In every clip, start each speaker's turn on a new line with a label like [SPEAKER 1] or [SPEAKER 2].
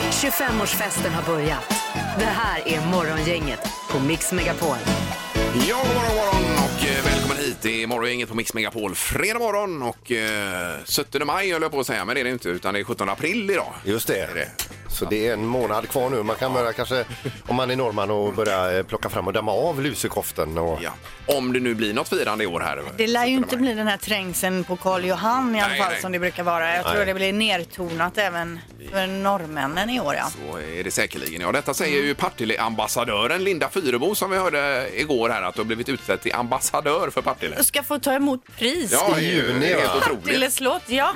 [SPEAKER 1] 25-årsfesten har börjat. Det här är Morgongänget på Mix Megapol.
[SPEAKER 2] Ja, god morgon, god morgon och eh, välkommen hit. Det är morgongänget på Mix Megapol. Fredag morgon och eh, 17 maj höll jag på att säga, men det är det inte utan det är 17 april idag.
[SPEAKER 3] Just det. Så det är en månad kvar nu. Man kan börja kanske, om man är norrman, och börja eh, plocka fram och damma av lusekoften. Och...
[SPEAKER 2] Ja. Om det nu blir något firande i år här.
[SPEAKER 4] Det lär ju
[SPEAKER 2] 17
[SPEAKER 4] inte
[SPEAKER 2] maj.
[SPEAKER 4] bli den här trängseln på Karl Johan i alla
[SPEAKER 2] Nej,
[SPEAKER 4] fall
[SPEAKER 2] nej.
[SPEAKER 4] som det brukar vara. Jag tror
[SPEAKER 3] Nej.
[SPEAKER 4] det blir nertonat även för norrmännen i år. Ja.
[SPEAKER 2] Så är det säkerligen. Ja, detta säger ju Partille-ambassadören Linda Fyrebo som vi hörde igår här att du har blivit utsedd till ambassadör för Partille.
[SPEAKER 5] Du ska få ta emot pris.
[SPEAKER 2] Ja, det är
[SPEAKER 3] I
[SPEAKER 2] ju
[SPEAKER 3] juni,
[SPEAKER 2] helt
[SPEAKER 3] va?
[SPEAKER 2] otroligt.
[SPEAKER 5] Partilles låt, ja.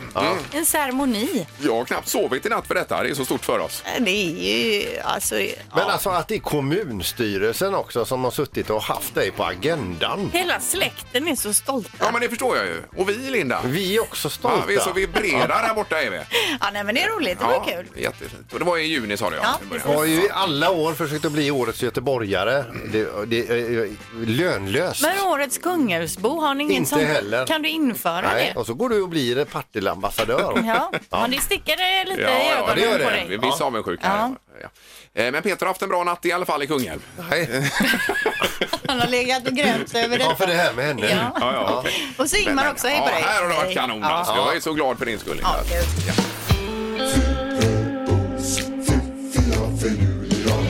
[SPEAKER 5] En ceremoni.
[SPEAKER 2] Jag har knappt sovit i natt för detta. Det är så stort för oss.
[SPEAKER 4] Det är ju alltså...
[SPEAKER 3] Men alltså att det är kommunstyrelsen också som har suttit och haft dig på agendan.
[SPEAKER 5] Hela släkten är så stolta.
[SPEAKER 2] Ja, men det förstår jag ju. Och vi, Linda.
[SPEAKER 3] Vi är också stolta.
[SPEAKER 2] Ja, vi är så vibrerar här borta är vi.
[SPEAKER 4] Ja, nej, men det är roligt. Det var kul.
[SPEAKER 2] jättefint. Och det var i juni sa du ja. i början.
[SPEAKER 3] Jag har ju i alla år försökt att bli årets göteborgare. Det, det är eh, lönlöst.
[SPEAKER 5] Men årets kungälvsbo, har ni ingen
[SPEAKER 3] Inte
[SPEAKER 5] sån?
[SPEAKER 3] heller.
[SPEAKER 5] Kan du införa
[SPEAKER 3] Nej.
[SPEAKER 5] det?
[SPEAKER 3] Och så går du och blir Partilleambassadör.
[SPEAKER 5] Ja. ja, det sticker eh, lite i
[SPEAKER 2] Ja, ja,
[SPEAKER 5] ögonen
[SPEAKER 2] det
[SPEAKER 5] på
[SPEAKER 2] gör det.
[SPEAKER 5] dig.
[SPEAKER 2] Vi blir avundsjuka. här. Ja. Eh, Men Peter har haft en bra natt i alla fall i Kungälv.
[SPEAKER 3] Nej.
[SPEAKER 4] Han har legat och grämt över
[SPEAKER 3] Ja, för
[SPEAKER 4] detta.
[SPEAKER 3] det här med henne.
[SPEAKER 4] Ja.
[SPEAKER 2] Ja, ja, okej.
[SPEAKER 4] Och så
[SPEAKER 2] Men,
[SPEAKER 4] Ingmar
[SPEAKER 2] men,
[SPEAKER 4] också. Hej
[SPEAKER 2] ja,
[SPEAKER 4] på dig.
[SPEAKER 2] Här har det varit
[SPEAKER 4] Hej.
[SPEAKER 2] kanon.
[SPEAKER 4] Ja.
[SPEAKER 2] Alltså. Jag är så glad för din skull. Linda.
[SPEAKER 4] Ja, kul.
[SPEAKER 2] Ja.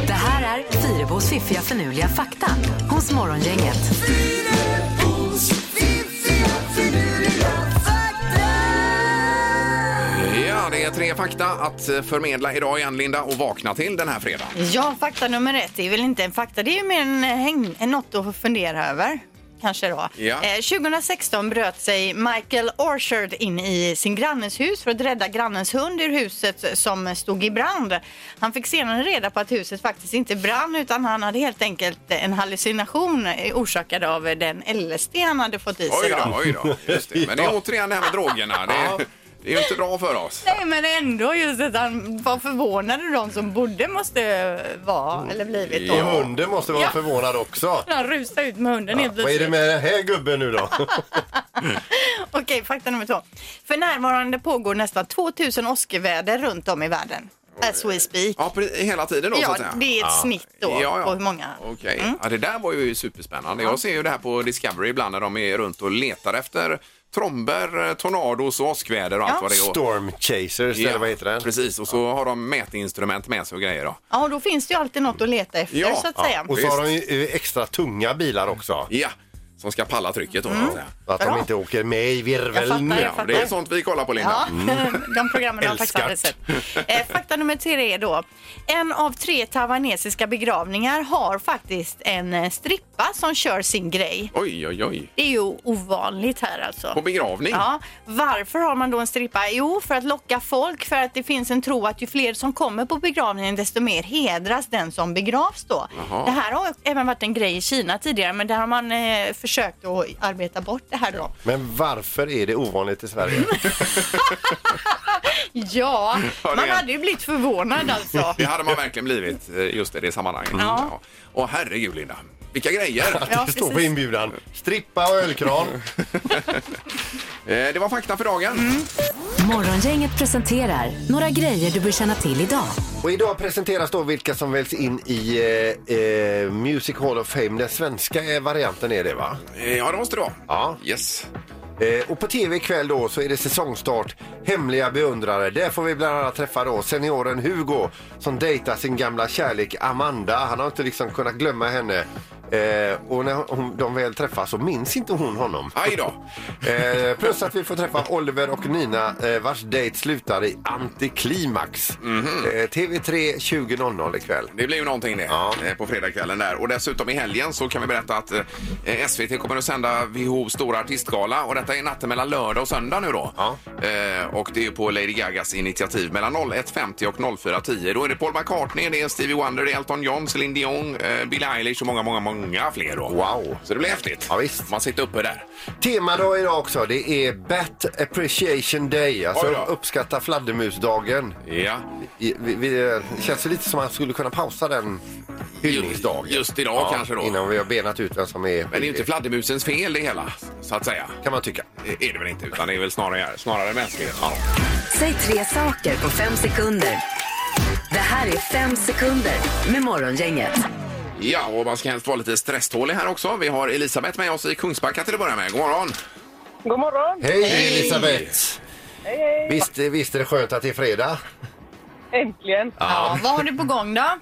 [SPEAKER 1] Det här är Fyrebos fiffiga förnuliga fakta hos Morgongänget.
[SPEAKER 2] ja, det är tre fakta att eh, förmedla idag igen Linda och vakna till den här fredagen.
[SPEAKER 4] Ja, fakta nummer ett är väl inte en fakta, det är ju mer en, häng, en något att fundera över. Kanske då.
[SPEAKER 2] Ja.
[SPEAKER 4] Eh, 2016 bröt sig Michael Orchard in i sin grannes hus för att rädda grannens hund ur huset som stod i brand. Han fick senare reda på att huset faktiskt inte brann utan han hade helt enkelt en hallucination eh, orsakad av den LSD han hade fått i sig.
[SPEAKER 2] Oj
[SPEAKER 4] Då.
[SPEAKER 2] då, oj då. Just det. Men det är återigen det här med drogerna. Det är, det är ju inte bra för oss.
[SPEAKER 4] Nej men ändå just att han var förvånad över de som borde måste vara eller blivit då.
[SPEAKER 3] Och hunden måste vara
[SPEAKER 4] Ja.
[SPEAKER 3] förvånad också.
[SPEAKER 5] Han rusar ut med hunden helt
[SPEAKER 3] Vad är det
[SPEAKER 5] plötsligt.
[SPEAKER 3] med den här gubben nu då?
[SPEAKER 4] Okej, fakta nummer två. För närvarande pågår nästan 2000 åskväder runt om i världen. As we speak.
[SPEAKER 2] Ja, pre- hela tiden då så
[SPEAKER 4] Ja,
[SPEAKER 2] att säga. Ah.
[SPEAKER 4] det är ett snitt då
[SPEAKER 2] Ja, ja.
[SPEAKER 4] på hur många. Mm.
[SPEAKER 2] Okej. Ja, det där var ju superspännande. Jag ser ju det här på Discovery ibland när de är runt och letar efter tromber, eh, tornados och åskväder och allt vad det är. Och-
[SPEAKER 3] Storm Chasers,
[SPEAKER 2] Ja,
[SPEAKER 3] eller vad heter den?
[SPEAKER 2] Precis, och så har de mätinstrument med sig och grejer. Då.
[SPEAKER 4] Ja, och då finns det ju alltid något att leta efter
[SPEAKER 2] Ja,
[SPEAKER 4] så att
[SPEAKER 2] ja.
[SPEAKER 4] säga.
[SPEAKER 3] Och så har de ju eh, extra tunga bilar också.
[SPEAKER 2] Ja, som ska palla trycket. Då, så att säga.
[SPEAKER 3] Så att de
[SPEAKER 4] Bra.
[SPEAKER 3] inte åker med i virveln.
[SPEAKER 4] Jag Mm. fattar.
[SPEAKER 2] Ja, det är sånt vi kollar på, Linda.
[SPEAKER 4] Ja,
[SPEAKER 2] Mm.
[SPEAKER 4] de programmen har faktiskt aldrig sett.
[SPEAKER 3] Älskat.
[SPEAKER 4] Eh, Fakta nummer tre är då. En av tre taiwanesiska begravningar har faktiskt en eh, strippa som kör sin grej.
[SPEAKER 2] Oj, oj, oj.
[SPEAKER 4] Det är ju ovanligt här alltså.
[SPEAKER 2] På begravning?
[SPEAKER 4] Ja,
[SPEAKER 2] Mm.
[SPEAKER 4] varför har man då en strippa? Jo, för att locka folk, för att det finns en tro att ju fler som kommer på begravningen desto mer hedras den som begravs då.
[SPEAKER 2] Jaha.
[SPEAKER 4] Det här har ju även varit en grej i Kina tidigare men där har man eh, försökt att arbeta bort det här då.
[SPEAKER 3] Men varför är det ovanligt i
[SPEAKER 4] Mm.
[SPEAKER 3] Sverige?
[SPEAKER 4] Ja,
[SPEAKER 2] Ja, det
[SPEAKER 4] man
[SPEAKER 2] är-
[SPEAKER 4] hade ju blivit förvånad alltså.
[SPEAKER 2] Det hade man verkligen blivit eh, just i det sammanhanget. Ja. Och herregud, Linda. Vilka grejer!
[SPEAKER 4] Ja,
[SPEAKER 3] det står på
[SPEAKER 4] precis.
[SPEAKER 3] inbjudan. Strippa och ölkran.
[SPEAKER 2] Eh, Det var fakta för dagen.
[SPEAKER 4] Mm.
[SPEAKER 1] Morgongänget presenterar några grejer du bör känna till idag.
[SPEAKER 3] Och idag presenteras då vilka som väljs in i eh, eh, Music Hall of Fame. Den svenska eh, varianten är det va?
[SPEAKER 2] Eh, Ja, det måste det vara.
[SPEAKER 3] Ja.
[SPEAKER 2] Yes.
[SPEAKER 3] Eh, och på tv ikväll då så är det säsongstart, Hemliga beundrare. Där får vi bland annat träffa då senioren Hugo som dejtar sin gamla kärlek Amanda. Han har inte liksom kunnat glömma henne. Eh, och när hon, de väl träffas så minns inte hon honom.
[SPEAKER 2] Aj då.
[SPEAKER 3] Eh, plus att vi får träffa Oliver och Nina eh, vars dejt slutar i antiklimax.
[SPEAKER 2] Mhm.
[SPEAKER 3] eh, TV3 20.00 ikväll.
[SPEAKER 2] Det blir ju någonting det
[SPEAKER 3] Ja.
[SPEAKER 2] eh, på fredagskvällen där. Och dessutom i helgen så kan vi berätta att eh, SVT kommer att sända WHOs stora artistgala och detta är natten mellan lördag och söndag nu då.
[SPEAKER 3] Ja.
[SPEAKER 2] Eh, och det är ju på Lady Gagas initiativ mellan 01.50 och 04.10. Då är det Paul McCartney, det är Stevie Wonder, det är Elton John, Celine Dion, eh, Billie Eilish och många, många, många fler då.
[SPEAKER 3] Wow.
[SPEAKER 2] Så det blir häftigt.
[SPEAKER 3] Ja, visst.
[SPEAKER 2] Man sitter uppe där.
[SPEAKER 3] Temadag idag också. Det är Bat Appreciation Day. Alltså
[SPEAKER 2] Oj då.
[SPEAKER 3] uppskatta fladdermusdagen.
[SPEAKER 2] Ja.
[SPEAKER 3] I- Vi, vi, eh, det känns ju lite som att man skulle kunna pausa den hyllningsdagen.
[SPEAKER 2] Ju- just idag kanske då.
[SPEAKER 3] Innan vi har benat ut vem som är...
[SPEAKER 2] Men det är ju inte fladdermusens fel det hela, så att säga.
[SPEAKER 3] kan man tycka.
[SPEAKER 2] Det är det väl inte, utan det är väl snarare, snarare mänskligheten.
[SPEAKER 1] Säg tre saker på fem sekunder.
[SPEAKER 6] Det här är fem sekunder med Morgongänget.
[SPEAKER 2] Ja, och man ska helst vara lite stresstålig här också. Vi har Elisabeth med oss i Kungsbacka till att börja med. God morgon!
[SPEAKER 5] God morgon!
[SPEAKER 3] Hej Elisabeth! Visst, visst är det skönt att det är fredag?
[SPEAKER 5] Äntligen!
[SPEAKER 4] Ja, vad har du på gång då?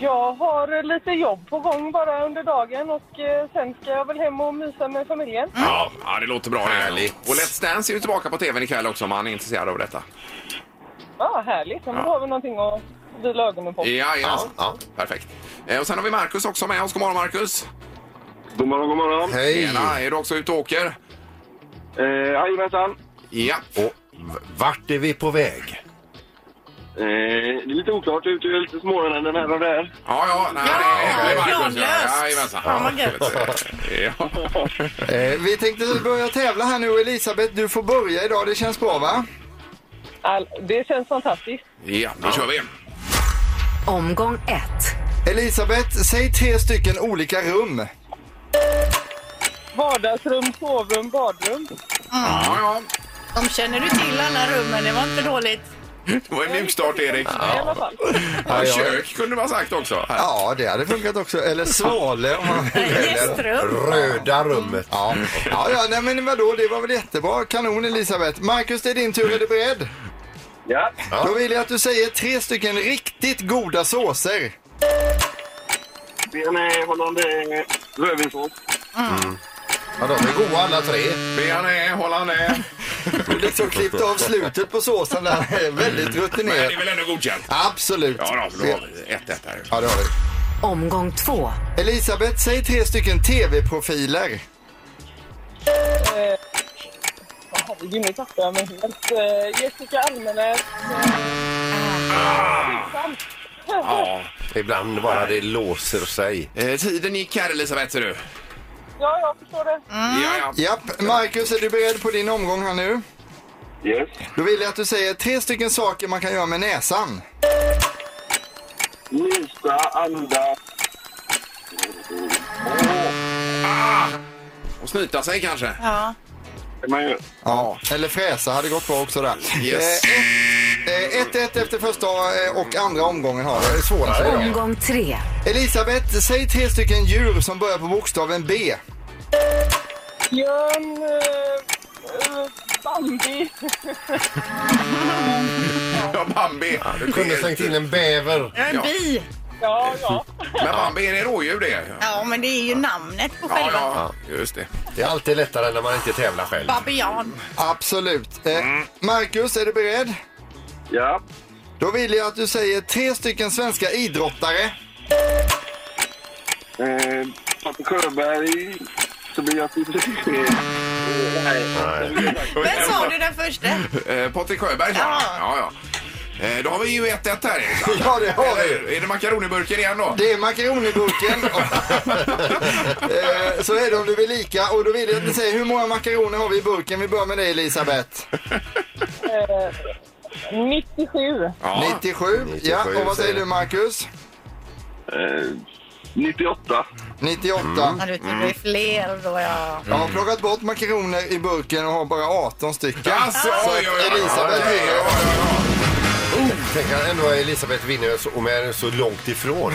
[SPEAKER 5] Jag har eh, lite jobb på gång bara under dagen och eh, sen ska jag väl hem och mysa med familjen.
[SPEAKER 2] Ja, ja, det låter bra. det.
[SPEAKER 3] Härligt.
[SPEAKER 2] Och Let's Dance är ju tillbaka på tvn ikväll också om man är intresserad av detta.
[SPEAKER 5] Ja, Ah, härligt! Ja, Men då har vi någonting att vila ögonen på.
[SPEAKER 2] Ja, ja.
[SPEAKER 3] Ja,
[SPEAKER 2] ja.
[SPEAKER 3] ja.
[SPEAKER 2] Perfekt. Eh, Och sen har vi Markus också med oss. God morgon Markus!
[SPEAKER 7] God morgon, god morgon.
[SPEAKER 3] Hej!
[SPEAKER 2] Tjena, är du också ute och åker?
[SPEAKER 7] Eh, Jajamensan.
[SPEAKER 2] Ja.
[SPEAKER 3] Och v- vart är vi på väg?
[SPEAKER 7] Eh, det är lite oklart. Jag är ute lite smålänningar här och där.
[SPEAKER 2] Ja, ja, nej, ja, det är Marcus. Ja,
[SPEAKER 4] planlöst.
[SPEAKER 2] jajamensan.
[SPEAKER 4] Fan, vad
[SPEAKER 2] Ja.
[SPEAKER 8] Eh, vi tänkte börja tävla här nu. Elisabeth, du får börja idag. Det känns bra va?
[SPEAKER 5] All, det känns fantastiskt.
[SPEAKER 2] ja, då kör vi.
[SPEAKER 6] Omgång ett.
[SPEAKER 8] Elisabeth, säg tre stycken olika rum.
[SPEAKER 5] Vardagsrum, sovrum, badrum.
[SPEAKER 2] Ja, ja.
[SPEAKER 4] De känner du till alla rummen, det var inte dåligt.
[SPEAKER 2] Det var en mjukstart, Erik.
[SPEAKER 5] I alla fall.
[SPEAKER 2] Ja,
[SPEAKER 8] ja.
[SPEAKER 2] kök kunde man ha sagt också. Här.
[SPEAKER 8] Ja, det hade funkat också. Eller svale om man
[SPEAKER 4] Gästrum.
[SPEAKER 3] Röda rummet.
[SPEAKER 8] Ja, ja, ja nej, men vadå, det var väl jättebra. Kanon Elisabeth. Marcus, det är din tur. Är du beredd?
[SPEAKER 7] Ja.
[SPEAKER 8] Då vill jag att du säger tre stycken riktigt goda såser.
[SPEAKER 7] Den är Hollande rödvinssås.
[SPEAKER 3] Ja, de är goda alla tre.
[SPEAKER 2] Bearnaise, hollandaise.
[SPEAKER 8] Du liksom klippte av slutet på såsen där. Väldigt
[SPEAKER 2] Men det är
[SPEAKER 8] rutinerat.
[SPEAKER 2] väl ändå godkänt?
[SPEAKER 8] Absolut.
[SPEAKER 2] Ja, då, då har vi 1-1 här.
[SPEAKER 8] Ja, det har vi.
[SPEAKER 6] Omgång två.
[SPEAKER 8] Elisabeth, säg tre stycken tv-profiler.
[SPEAKER 5] Eh, Herregud, nu tappade jag mig helt. Eh, Jessica Almenäs.
[SPEAKER 2] Ja.
[SPEAKER 3] Ibland bara det låser sig.
[SPEAKER 2] Eh, tiden gick här, Elisabeth, ser du.
[SPEAKER 5] Ja, jag förstår det.
[SPEAKER 2] Ja, ja.
[SPEAKER 8] Japp, Marcus, är du beredd på din omgång här nu?
[SPEAKER 7] Yes.
[SPEAKER 8] Då vill jag att du säger tre stycken saker man kan göra med näsan.
[SPEAKER 7] Nysta, andas.
[SPEAKER 2] Och snyta sig kanske.
[SPEAKER 4] Ja.
[SPEAKER 7] Det man gör.
[SPEAKER 8] Ja. Eller fräsa hade gått bra också där.
[SPEAKER 2] Yes.
[SPEAKER 8] Eh, 1-1 efter första eh, och andra omgången har
[SPEAKER 3] Det
[SPEAKER 8] vi.
[SPEAKER 3] är svårare idag.
[SPEAKER 6] Omgång tre.
[SPEAKER 8] Elisabeth, säg tre stycken djur som börjar på bokstaven B.
[SPEAKER 5] Björn... eh, eh, Bambi.
[SPEAKER 2] Ja, Bambi. Ja,
[SPEAKER 3] Du kunde slängt in en bäver.
[SPEAKER 4] En bi.
[SPEAKER 5] Ja, ja.
[SPEAKER 2] Men Bambi, är det rådjur det?
[SPEAKER 4] Ja, men det är ju namnet på
[SPEAKER 2] Ja,
[SPEAKER 4] själva.
[SPEAKER 2] ja, just det.
[SPEAKER 3] Det är alltid lättare när man inte tävlar själv.
[SPEAKER 4] Babian.
[SPEAKER 8] Absolut. Eh, Marcus, är du beredd?
[SPEAKER 7] Ja.
[SPEAKER 8] Då vill jag att du säger tre stycken svenska idrottare.
[SPEAKER 7] Eh, Patte Sjöberg. Tobias Tillin.
[SPEAKER 4] Vem sa du den första?
[SPEAKER 2] Eh, Patrik Sjöberg, ja. ja, ja. Eh, då har vi ju 1-1 här, Erik.
[SPEAKER 8] Ja, det har vi.
[SPEAKER 2] Eller, Är det makaroniburken igen då?
[SPEAKER 8] Det är makaroniburken. Eh, Så är det om du vill lika. Och då vill jag att ni säger hur många makaroner har vi i burken? Vi börjar med dig Elisabeth.
[SPEAKER 5] Eh, 97.
[SPEAKER 2] Ja.
[SPEAKER 8] 97. Ja, och vad säger du Marcus?
[SPEAKER 7] Eh, 98.
[SPEAKER 8] 98.
[SPEAKER 4] Ja, du tror det är fler då, ja.
[SPEAKER 8] Jag har plockat bort makaroner i burken och har bara 18 stycken.
[SPEAKER 2] Alltså,
[SPEAKER 8] Så
[SPEAKER 2] oj, oj, oj.
[SPEAKER 8] Elisabeth
[SPEAKER 2] Ja, ja, ja, ja, ja.
[SPEAKER 3] Tänk att ändå att Elisabeth vinner så- och med så långt ifrån.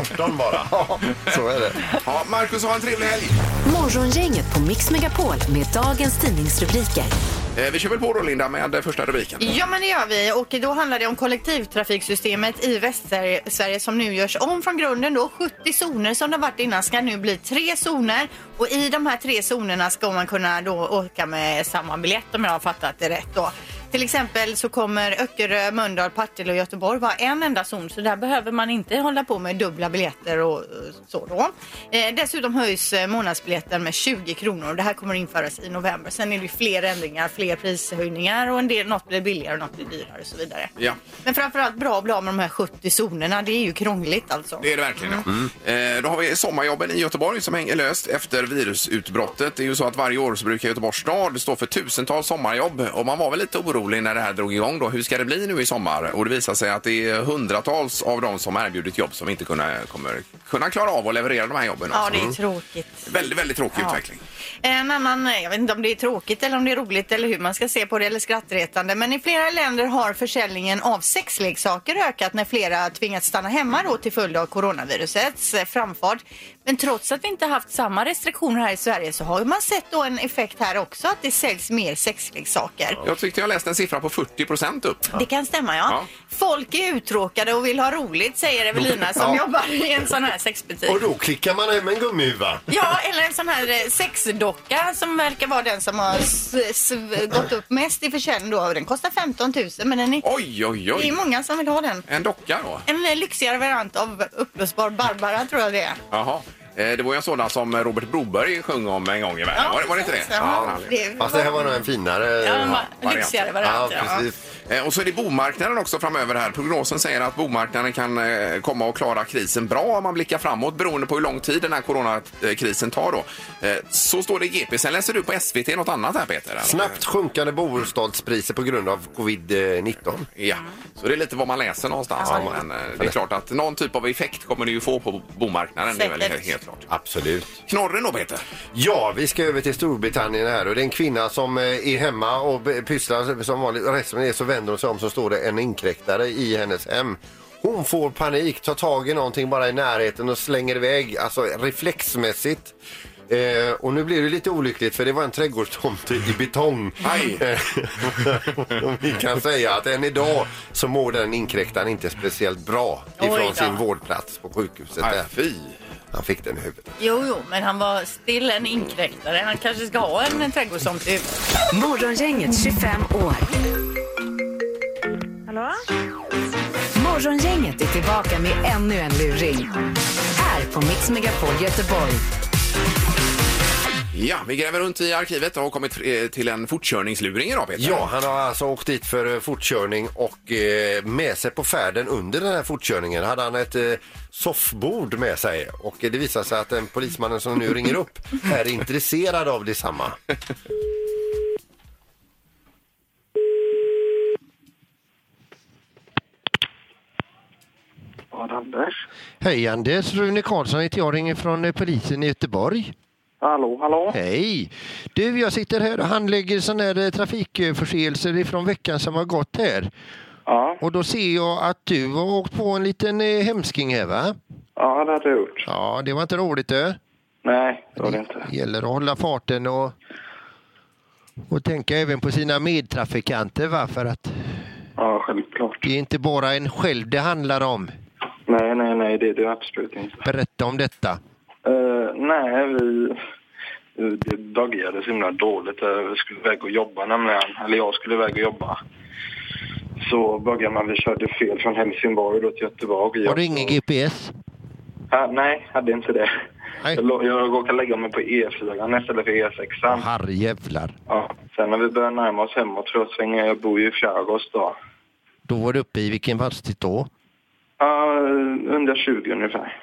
[SPEAKER 3] 18 Mm. bara.
[SPEAKER 8] Ja, så är det.
[SPEAKER 2] Ja, Marcus, ha en trevlig helg.
[SPEAKER 9] Morgongänget på Mix Megapol med dagens tidningsrubriker.
[SPEAKER 2] Eh, Vi kör väl på då, Linda, med eh, första rubriken.
[SPEAKER 4] Ja, men det gör vi. Och då handlar det om kollektivtrafiksystemet i Västsverige som nu görs om från grunden. Då. 70 zoner som det har varit innan ska nu bli tre zoner. Och i de här tre zonerna ska man kunna då åka med samma biljett om jag har fattat det rätt. Då. Till exempel så kommer Öckerö, Mölndal, Partille och Göteborg vara en enda zon så där behöver man inte hålla på med dubbla biljetter och eh, så då. Eh, dessutom höjs eh, månadsbiljetten med 20 kronor och det här kommer att införas i november. Sen är det ju fler ändringar, fler prishöjningar och en del, något blir billigare och något blir dyrare och så vidare.
[SPEAKER 2] Ja.
[SPEAKER 4] Men framförallt bra att bli av med de här 70 zonerna. Det är ju krångligt alltså.
[SPEAKER 2] Det är det verkligen. Ja. Eh, då har vi sommarjobben i Göteborg som hänger löst efter virusutbrottet. Det är ju så att varje år så brukar Göteborgs stad stå för tusentals sommarjobb och man var väl lite orolig när det här drog igång då. Hur ska det bli nu i sommar? Och det visar sig att det är hundratals av dem som erbjudit jobb som inte kunna, kommer kunna klara av att leverera de här jobben.
[SPEAKER 4] Ja,
[SPEAKER 2] alltså.
[SPEAKER 4] det är tråkigt.
[SPEAKER 2] Väldigt, väldigt tråkig utveckling.
[SPEAKER 4] En annan, jag vet inte om det är tråkigt eller om det är roligt eller hur man ska se på det eller skrattretande, men i flera länder har försäljningen av sexleksaker ökat när flera tvingats stanna hemma då till följd av coronavirusets eh, framfart. Men trots att vi inte haft samma restriktioner här i Sverige så har man sett då en effekt här också att det säljs mer sexleksaker.
[SPEAKER 2] Jag tyckte jag läste en siffra på 40 procent upp.
[SPEAKER 4] Det kan stämma, ja.
[SPEAKER 2] Ja.
[SPEAKER 4] Folk är uttråkade och vill ha roligt, säger Evelina som jobbar i en sån här sexbutik.
[SPEAKER 3] Och då klickar man hem en gummihuva.
[SPEAKER 4] Ja, eller en sån här eh, sexdocka som verkar vara den som har s- s- gått upp mest i försäljning då. Den kostar 15 000 men den är,
[SPEAKER 2] Oj, oj,
[SPEAKER 4] det är
[SPEAKER 2] oj.
[SPEAKER 4] många som vill ha den.
[SPEAKER 2] En docka då?
[SPEAKER 4] En eh, lyxigare variant av uppblåsbar Barbara tror jag det är.
[SPEAKER 2] Jaha. Eh, Det var ju en sådan som Robert Broberg sjöng om en gång i världen. var, det- var det inte det?
[SPEAKER 4] Ja, det
[SPEAKER 3] Fast det här var nog en finare.
[SPEAKER 4] Ja, en
[SPEAKER 3] Ja,
[SPEAKER 4] va-
[SPEAKER 2] variant.
[SPEAKER 4] lyxigare
[SPEAKER 3] ja
[SPEAKER 4] variant. Ja,
[SPEAKER 3] precis.
[SPEAKER 2] Eh, Och så är det bomarknaden också framöver här. Prognosen säger att bomarknaden kan eh, komma att klara krisen bra om man blickar framåt beroende på hur lång tid den här coronakrisen tar då. Eh, Så står det i GP. Sen läser du på SVT något annat här Peter? eller?
[SPEAKER 3] Snabbt sjunkande bostadspriser på grund av eh, covid-19.
[SPEAKER 2] Ja, så det är lite vad man läser någonstans. Men eh, det är klart att någon typ av effekt kommer det ju få på bomarknaden. Det är väl
[SPEAKER 4] Säkert.
[SPEAKER 2] helt, helt klart.
[SPEAKER 3] Absolut.
[SPEAKER 2] Knorren då Peter?
[SPEAKER 3] Ja, vi ska över till Storbritannien här och det är en kvinna som eh, är hemma och b- pysslar som vanligt. Och Resten är så vänder hon sig om så står det en inkräktare i hennes hem. Hon får panik, tar tag i någonting bara i närheten och slänger iväg, alltså reflexmässigt. Eh, och nu blir det lite olyckligt för det var en trädgårdstomte i betong.
[SPEAKER 2] Aj.
[SPEAKER 3] Eh, Om vi kan säga att än idag så mår den inkräktaren inte speciellt bra
[SPEAKER 4] Oj
[SPEAKER 3] ifrån
[SPEAKER 4] då.
[SPEAKER 3] sin vårdplats på sjukhuset.
[SPEAKER 2] Nej,
[SPEAKER 3] Där.
[SPEAKER 2] fy.
[SPEAKER 3] Han fick den i huvudet.
[SPEAKER 4] Jo, jo, men han var still en inkräktare. Han kanske ska ha en, en trädgårdstomte. i huvudet.
[SPEAKER 6] Morgongänget 25 år.
[SPEAKER 10] Hallå?
[SPEAKER 6] Morgongänget är tillbaka med ännu en luring. Här på Mix Megapol Göteborg.
[SPEAKER 2] Ja, vi gräver runt i arkivet och har kommit eh, till en fortkörningsluring idag Peter.
[SPEAKER 3] Ja, han har alltså åkt dit för eh, fortkörning och eh, med sig på färden under den här fortkörningen hade han ett eh, soffbord med sig och eh, det visar sig att den polismannen som nu ringer upp är intresserad av detsamma.
[SPEAKER 11] Ja, Anders.
[SPEAKER 3] Hej Anders, Rune Karlsson heter jag, ringer från eh, polisen i Göteborg.
[SPEAKER 11] Hallå, hallå.
[SPEAKER 3] Hej! Du, jag sitter här och handlägger sådana här eh, trafikförseelser ifrån veckan som har gått här.
[SPEAKER 11] Ja,
[SPEAKER 3] Och då ser jag att du har åkt på en liten eh, hemsking här va?
[SPEAKER 11] ja det har du gjort.
[SPEAKER 3] Ja, det var inte roligt du.
[SPEAKER 11] Nej, det var det inte.
[SPEAKER 3] gäller att hålla farten och, och tänka även på sina medtrafikanter. Va? För att
[SPEAKER 11] Ja, självklart.
[SPEAKER 3] det är inte bara en själv det handlar om.
[SPEAKER 11] Nej, nej, nej, det är det absolut inte.
[SPEAKER 3] Berätta om detta.
[SPEAKER 11] Eh, nej, vi... Det började så himla dåligt. Eh, Vi skulle iväg och jobba nämligen. Eller jag skulle iväg och jobba. Så började man, vi körde fel från Helsingborg då till Göteborg.
[SPEAKER 3] Har du ingen GPS?
[SPEAKER 11] Ja, nej, hade inte det.
[SPEAKER 3] Nej.
[SPEAKER 11] Jag, lå- jag råkade lägga mig på E- E4 istället för E6.
[SPEAKER 3] Herrejävlar.
[SPEAKER 11] Ja. Sen när vi började närma oss hemåt tror jag svänger jag bor ju i Fjärgås då.
[SPEAKER 3] Då var du uppe i vilken hastighet då?
[SPEAKER 11] Ja, 120 ungefär.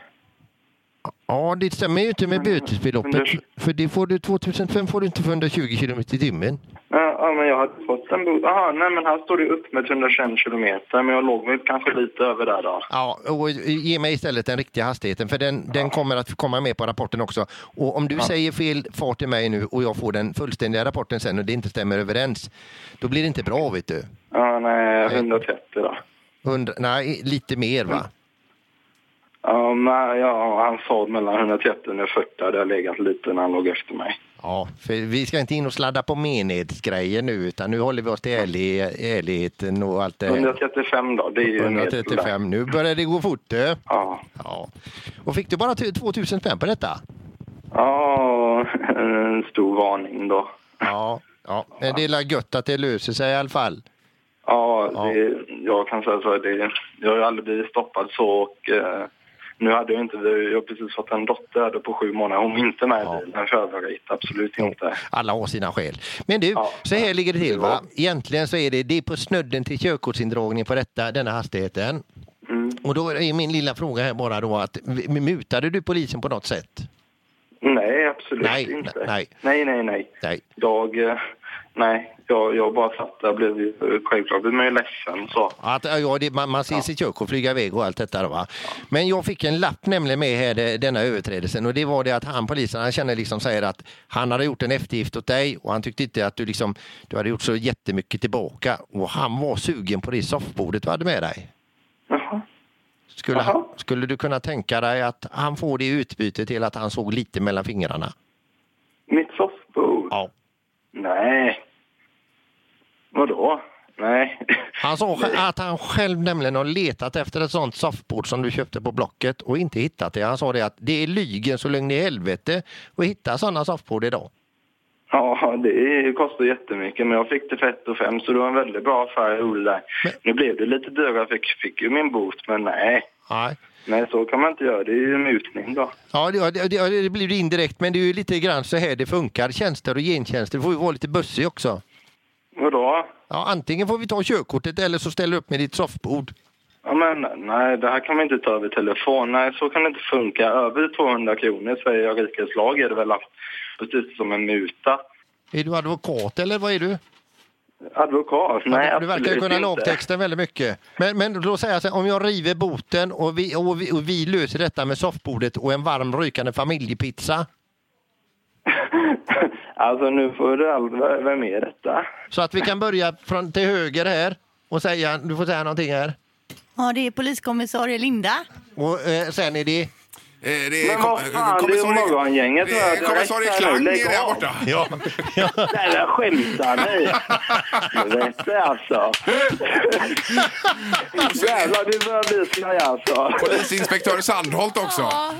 [SPEAKER 3] Ja, det stämmer ju inte med
[SPEAKER 11] Mm,
[SPEAKER 3] bötesbeloppet. För det får du 2005 får du inte för 120 km i timmen.
[SPEAKER 11] Ja, ja, men jag hade fått en bot. Aha, nej men här står det upp med 121 kilometer men jag låg väl kanske lite över där då.
[SPEAKER 3] Ja, och eh, ge mig istället den riktiga hastigheten för den, den kommer att komma med på rapporten också. Och om du säger fel fart till mig nu och jag får den fullständiga rapporten sen och det inte stämmer överens, då blir det inte bra vet du.
[SPEAKER 11] Ja, nej, 130 då.
[SPEAKER 3] Hundra, nej, lite mer va?
[SPEAKER 11] Ja, men, ja, han sa mellan 130 och 140 hade jag legat lite när han låg efter mig.
[SPEAKER 3] Ja, för vi ska inte in och sladda på menighetsgrejer nu utan nu håller vi oss till ärlig, ärligheten och allt det här.
[SPEAKER 11] 135 då, det är ju en medel där.
[SPEAKER 3] 135, nu börjar det gå fort du.
[SPEAKER 11] Ja.
[SPEAKER 3] Ja. Och fick du bara 2005 på detta?
[SPEAKER 11] Ja, en stor varning då.
[SPEAKER 3] Ja, ja. men det är la gött att det löser sig i alla fall.
[SPEAKER 11] Ja, det, jag kan säga så. här, Det, jag har ju aldrig blivit stoppad så. Och, eh, nu hade jag inte... Jag har precis fått en dotter här då på sju månader. Hon var inte med i bilen för övrigt. Absolut inte.
[SPEAKER 3] Alla har sina skäl. Men du,
[SPEAKER 11] Ja.
[SPEAKER 3] så här ligger det till va? Egentligen så är det, det är på snudden till körkortsindragning på detta, denna hastigheten.
[SPEAKER 11] Mm.
[SPEAKER 3] Och då är min lilla fråga här bara då att m- mutade du polisen på något sätt?
[SPEAKER 11] Nej, absolut
[SPEAKER 3] Nej,
[SPEAKER 11] inte.
[SPEAKER 3] nej.
[SPEAKER 11] nej, nej. nej.
[SPEAKER 3] Nej.
[SPEAKER 11] Jag, eh, Nej, jag, jag bara satt där och blev ju- eh, självklart blev man ju ledsen och så.
[SPEAKER 3] Att, eh, ja, ja, det, man, man ser sitt kök och flyga iväg och allt detta. då, Va? Men jag fick en lapp nämligen med här, det- denna överträdelsen och det var det att han polisen, han känner liksom säger att han hade gjort en eftergift åt dig och han tyckte inte att du liksom, du hade gjort så jättemycket tillbaka och han var sugen på det soffbordet du hade med dig.
[SPEAKER 11] Jaha.
[SPEAKER 3] Skulle,
[SPEAKER 11] Jaha.
[SPEAKER 3] han, skulle du kunna tänka dig att han får det i utbyte till att han såg lite mellan fingrarna?
[SPEAKER 11] Mitt soffbord?
[SPEAKER 3] Ja.
[SPEAKER 11] Nej. Vadå? Nej.
[SPEAKER 3] Han sa att han själv nämligen har letat efter ett sånt soffbord som du köpte på Blocket och inte hittat det. Han sa det att det är lygen så lögn i helvete att hitta sådana soffbord idag.
[SPEAKER 11] Ja, det kostar jättemycket, men jag fick det för ett och fem, så det var en väldigt bra affär jag gjorde där.
[SPEAKER 3] Men-
[SPEAKER 11] Nu blev det lite dyrare, jag fick, fick ju min bot, men nej.
[SPEAKER 3] Nej.
[SPEAKER 11] Nej, så kan man inte göra. Det är ju mutning då.
[SPEAKER 3] Ja, det, det, det, det blir ju indirekt men det är ju lite grann så här det funkar. Tjänster och gentjänster får ju vara lite bussig också.
[SPEAKER 11] Vadå?
[SPEAKER 3] Ja, antingen får vi ta körkortet eller så ställer du upp med ditt soffbord.
[SPEAKER 11] Ja, men nej, det här kan man inte ta över telefon. Nej, så kan det inte funka. Över 200 kronor, säger jag rikets lag, är det väl att- precis som en muta.
[SPEAKER 3] Är du advokat eller vad är du?
[SPEAKER 11] Advokat? Nej,
[SPEAKER 3] du verkar ju
[SPEAKER 11] absolut
[SPEAKER 3] kunna
[SPEAKER 11] inte.
[SPEAKER 3] lagtexten väldigt mycket. Men, men då säger jag så här, om jag river boten och vi, och, vi, och vi löser detta med soffbordet och en varm rykande familjepizza.
[SPEAKER 11] Alltså, nu får du all... v- Vem är detta?
[SPEAKER 3] Så att vi kan börja från till höger här och säga, du får säga någonting här.
[SPEAKER 4] Ja, det är poliskommissarie Linda.
[SPEAKER 3] Och eh, sen är det...
[SPEAKER 2] Eh, det
[SPEAKER 11] Men vad fan, det är ju
[SPEAKER 2] kommissarie-
[SPEAKER 11] morgongänget,
[SPEAKER 2] Det
[SPEAKER 11] va?
[SPEAKER 2] är
[SPEAKER 11] Direkt
[SPEAKER 2] Kommissarie
[SPEAKER 11] här nu,
[SPEAKER 2] Klang
[SPEAKER 11] lägg
[SPEAKER 2] är där
[SPEAKER 11] av.
[SPEAKER 2] borta.
[SPEAKER 3] Ja,
[SPEAKER 11] Nej, men skämtar ni? Helvete, alltså. Jävlar, du börjar bli slöj, alltså.
[SPEAKER 2] Polisinspektör Sandholt också.
[SPEAKER 11] Ja,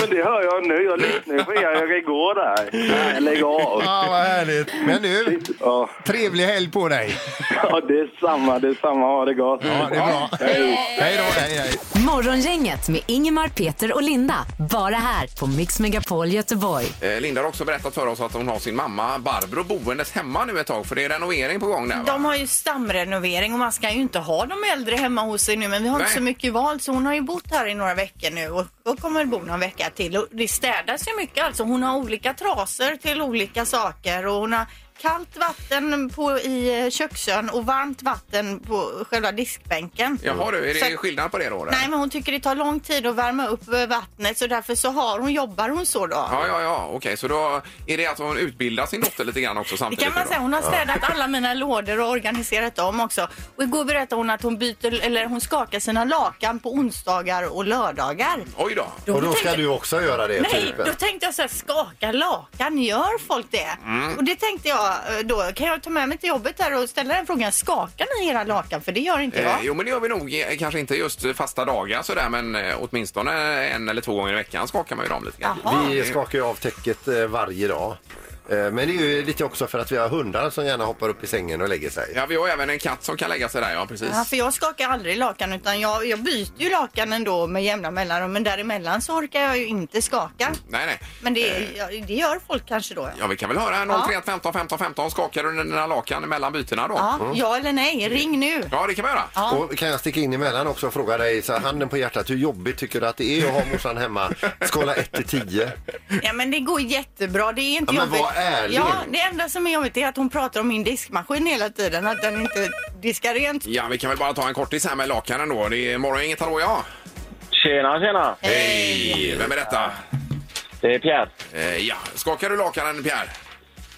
[SPEAKER 11] men det hör jag nu. Jag lyssnade på er igår där. Nej, lägg av.
[SPEAKER 12] Ja, vad härligt. Men du,
[SPEAKER 11] Ja,
[SPEAKER 12] trevlig helg på dig.
[SPEAKER 11] ja det är samma. Det är samma. Ha det gott.
[SPEAKER 12] Ja, det är bra. Hej då, hej, hej.
[SPEAKER 6] Morgongänget med Ingemar, Peter och Linda. Bara här på Mix Megapol Göteborg.
[SPEAKER 2] Eh, Linda har också berättat för oss att hon har sin mamma Barbro boendes hemma nu ett tag för det är renovering på gång där va?
[SPEAKER 4] De har ju stamrenovering och man ska ju inte ha de äldre hemma hos sig nu men vi har
[SPEAKER 2] Nej.
[SPEAKER 4] inte så mycket val så hon har ju bott här i några veckor nu och, och kommer bo någon vecka till. Och det städas ju mycket alltså. Hon har olika trasor till olika saker och hon har kallt vatten på, i eh, köksön och varmt vatten på själva diskbänken.
[SPEAKER 2] Jaha du, är det
[SPEAKER 4] Så-
[SPEAKER 2] skillnad på det då? eller?
[SPEAKER 4] Nej men hon tycker det tar lång tid att värma upp eh, vattnet så därför så har hon, jobbar hon så då.
[SPEAKER 2] Ja, ja, ja, okej, så då är det att hon utbildar sin dotter lite grann också
[SPEAKER 4] Det
[SPEAKER 2] samtidigt?
[SPEAKER 4] kan man
[SPEAKER 2] nu
[SPEAKER 4] säga.
[SPEAKER 2] då?
[SPEAKER 4] Hon har städat alla mina lådor och organiserat dem också. Och igår berättade hon att hon byter, eller hon skakar sina lakan på onsdagar och lördagar.
[SPEAKER 2] Oj då!
[SPEAKER 13] Och då ska
[SPEAKER 4] tänkte-
[SPEAKER 13] du också göra det?
[SPEAKER 4] Nej,
[SPEAKER 13] typ.
[SPEAKER 4] då tänkte jag så här, skaka lakan, gör folk det? Och det tänkte jag eh, då, kan jag ta med mig till jobbet där och ställa den frågan, skakar ni era lakan? För det gör inte
[SPEAKER 2] Eh,
[SPEAKER 4] jag.
[SPEAKER 2] jo, men det gör vi nog. eh, Kanske inte just fasta dagar sådär, men eh, åtminstone en eller två gånger i veckan skakar man ju dem lite grann.
[SPEAKER 4] Jaha.
[SPEAKER 13] Vi skakar ju av täcket eh, varje dag. Eh, Men det är ju lite också för att vi har hundar som gärna hoppar upp i sängen och lägger sig.
[SPEAKER 2] Ja, vi har även en katt som kan lägga sig där, ja precis.
[SPEAKER 4] Ja, för jag skakar aldrig lakan utan jag, jag byter ju lakan ändå med jämna mellanrum men däremellan så orkar jag ju inte skaka.
[SPEAKER 2] Nej, nej.
[SPEAKER 4] Men det, ja, det gör folk kanske då.
[SPEAKER 2] Ja, vi kan väl höra 031 15 15 15. Skakar du dina lakan mellan bytena då?
[SPEAKER 4] Ja, ja eller nej, ring nu.
[SPEAKER 2] Ja, det kan vi göra.
[SPEAKER 4] Ja.
[SPEAKER 13] Och kan jag sticka in emellan också och fråga dig, så här, handen på hjärtat, hur jobbigt tycker du att det är att ha morsan hemma? Skala 1 till 10.
[SPEAKER 4] Ja men det går jättebra, det är inte
[SPEAKER 13] Ja, men
[SPEAKER 4] jobbigt.
[SPEAKER 13] var ärlig.
[SPEAKER 4] Ja, det enda som är jobbigt är att hon pratar om min diskmaskin hela tiden, att den inte diskar rent.
[SPEAKER 2] Ja, vi kan väl bara ta en kortis här med lakanen då. Det är morgongänget, hallå ja.
[SPEAKER 11] Tjena, tjena.
[SPEAKER 2] Hej! Vem är detta?
[SPEAKER 11] Det är Pierre.
[SPEAKER 2] Eh, ja, skakar du lakanen Pierre?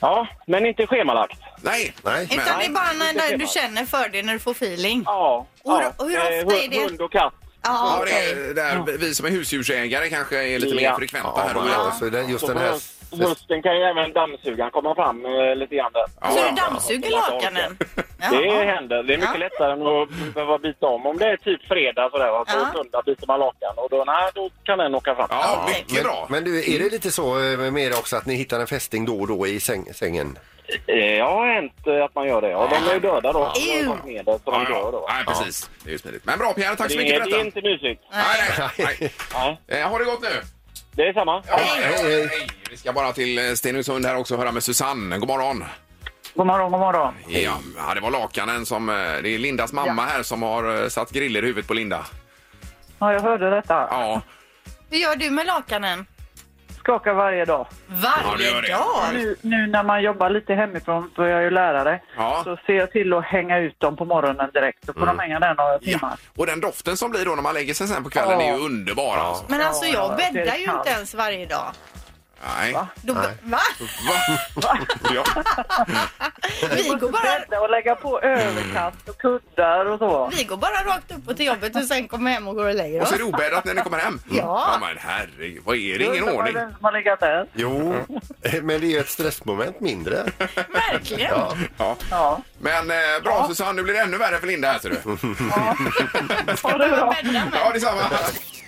[SPEAKER 11] Ja, men inte schemalagt.
[SPEAKER 2] Nej.
[SPEAKER 13] Nej.
[SPEAKER 2] Men,
[SPEAKER 4] Utan det är bara när du känner för det, när du får feeling.
[SPEAKER 11] Ja.
[SPEAKER 4] Och hur- och hur
[SPEAKER 11] Eh,
[SPEAKER 4] ofta är det?
[SPEAKER 11] Hund och katt.
[SPEAKER 4] Ja,
[SPEAKER 2] ja, det
[SPEAKER 4] okej.
[SPEAKER 2] är där vi som är husdjursägare kanske är lite
[SPEAKER 11] Ja.
[SPEAKER 2] mer frekventa
[SPEAKER 13] Ja,
[SPEAKER 2] här då.
[SPEAKER 13] man,
[SPEAKER 2] Ja.
[SPEAKER 13] alltså, den, just
[SPEAKER 11] Så
[SPEAKER 13] den
[SPEAKER 11] på
[SPEAKER 13] här...
[SPEAKER 11] höst- hösten kan ju även dammsugaren komma fram eh, lite grann där.
[SPEAKER 2] Ja,
[SPEAKER 4] Så
[SPEAKER 2] ja.
[SPEAKER 4] du dammsuger lakanen?
[SPEAKER 11] Det
[SPEAKER 4] Ja.
[SPEAKER 11] händer. Det är mycket
[SPEAKER 4] Ja.
[SPEAKER 11] lättare än att behöva byta om. Om det är typ fredag sådär, va, så
[SPEAKER 4] Ja.
[SPEAKER 11] söndag byter man lakan och då, nej, då kan den åka fram.
[SPEAKER 2] Ja,
[SPEAKER 4] Okej.
[SPEAKER 2] mycket bra.
[SPEAKER 13] Men du, är det lite så eh, med er också att ni hittar en fästing då och då i säng, sängen?
[SPEAKER 11] Eh, Ja, har hänt eh, att man gör det. Ja, de är ju döda då. De har
[SPEAKER 4] Ew.
[SPEAKER 11] ju tagit med det, så de
[SPEAKER 2] Ja,
[SPEAKER 11] dör då.
[SPEAKER 2] ja. Nej, precis. Det är ju smidigt. Men bra Pierre, tack så
[SPEAKER 11] Det
[SPEAKER 2] mycket
[SPEAKER 11] är,
[SPEAKER 2] för
[SPEAKER 11] det är
[SPEAKER 2] detta.
[SPEAKER 11] inte mysigt.
[SPEAKER 2] Nej, nej, nej.
[SPEAKER 11] Nej,
[SPEAKER 2] Eh, har det gått nu?
[SPEAKER 11] det är samma.
[SPEAKER 2] Ja, hej, hej. Vi ska bara till eh, Stenungsund här också och höra med Susanne. God morgon.
[SPEAKER 7] God morgon, god morgon.
[SPEAKER 2] Ja, ja, det var lakanen som... eh, Det är Lindas mamma här som har eh, satt griller i huvudet på Linda.
[SPEAKER 7] Ja, jag hörde detta.
[SPEAKER 2] Ja,
[SPEAKER 4] Hur gör du med lakanen?
[SPEAKER 10] skakar varje dag.
[SPEAKER 2] Ja, det
[SPEAKER 4] Varje
[SPEAKER 2] gör det.
[SPEAKER 4] dag?
[SPEAKER 10] Nu, nu när man jobbar lite hemifrån, för jag är ju lärare,
[SPEAKER 2] Ja. Mm.
[SPEAKER 10] så ser jag till att hänga ut dem på morgonen direkt. Då får de hänga där några timmar.
[SPEAKER 2] Ja. Och den doften som blir då när man lägger sig sen på kvällen
[SPEAKER 10] Ja.
[SPEAKER 2] är ju underbar alltså.
[SPEAKER 4] Men alltså jag
[SPEAKER 10] Ja, det är
[SPEAKER 4] bäddar ju
[SPEAKER 10] kallt.
[SPEAKER 4] inte ens varje dag.
[SPEAKER 2] Nej. Va?
[SPEAKER 4] Då, va?
[SPEAKER 2] Ja.
[SPEAKER 4] Vi går, bara,
[SPEAKER 10] Bädda och lägga på
[SPEAKER 2] Mm.
[SPEAKER 10] överkast och kuddar och så.
[SPEAKER 4] vi går bara rakt upp och till jobbet och sen kommer hem och går och lägger
[SPEAKER 2] Och
[SPEAKER 4] oss.
[SPEAKER 2] så är det obäddat när ni kommer hem.
[SPEAKER 4] Ja.
[SPEAKER 2] men herregud, vad är det? Ingen
[SPEAKER 10] Undrar vad
[SPEAKER 2] ordning.
[SPEAKER 10] det är som har legat där.
[SPEAKER 3] Jo, men det är ju ett stressmoment mindre.
[SPEAKER 4] Verkligen.
[SPEAKER 3] Ja.
[SPEAKER 2] Ja.
[SPEAKER 10] Ja.
[SPEAKER 2] Men eh, bra Susanne, nu blir det ännu värre för Linda här ser du.
[SPEAKER 10] Ha det bra.
[SPEAKER 2] Ja, detsamma.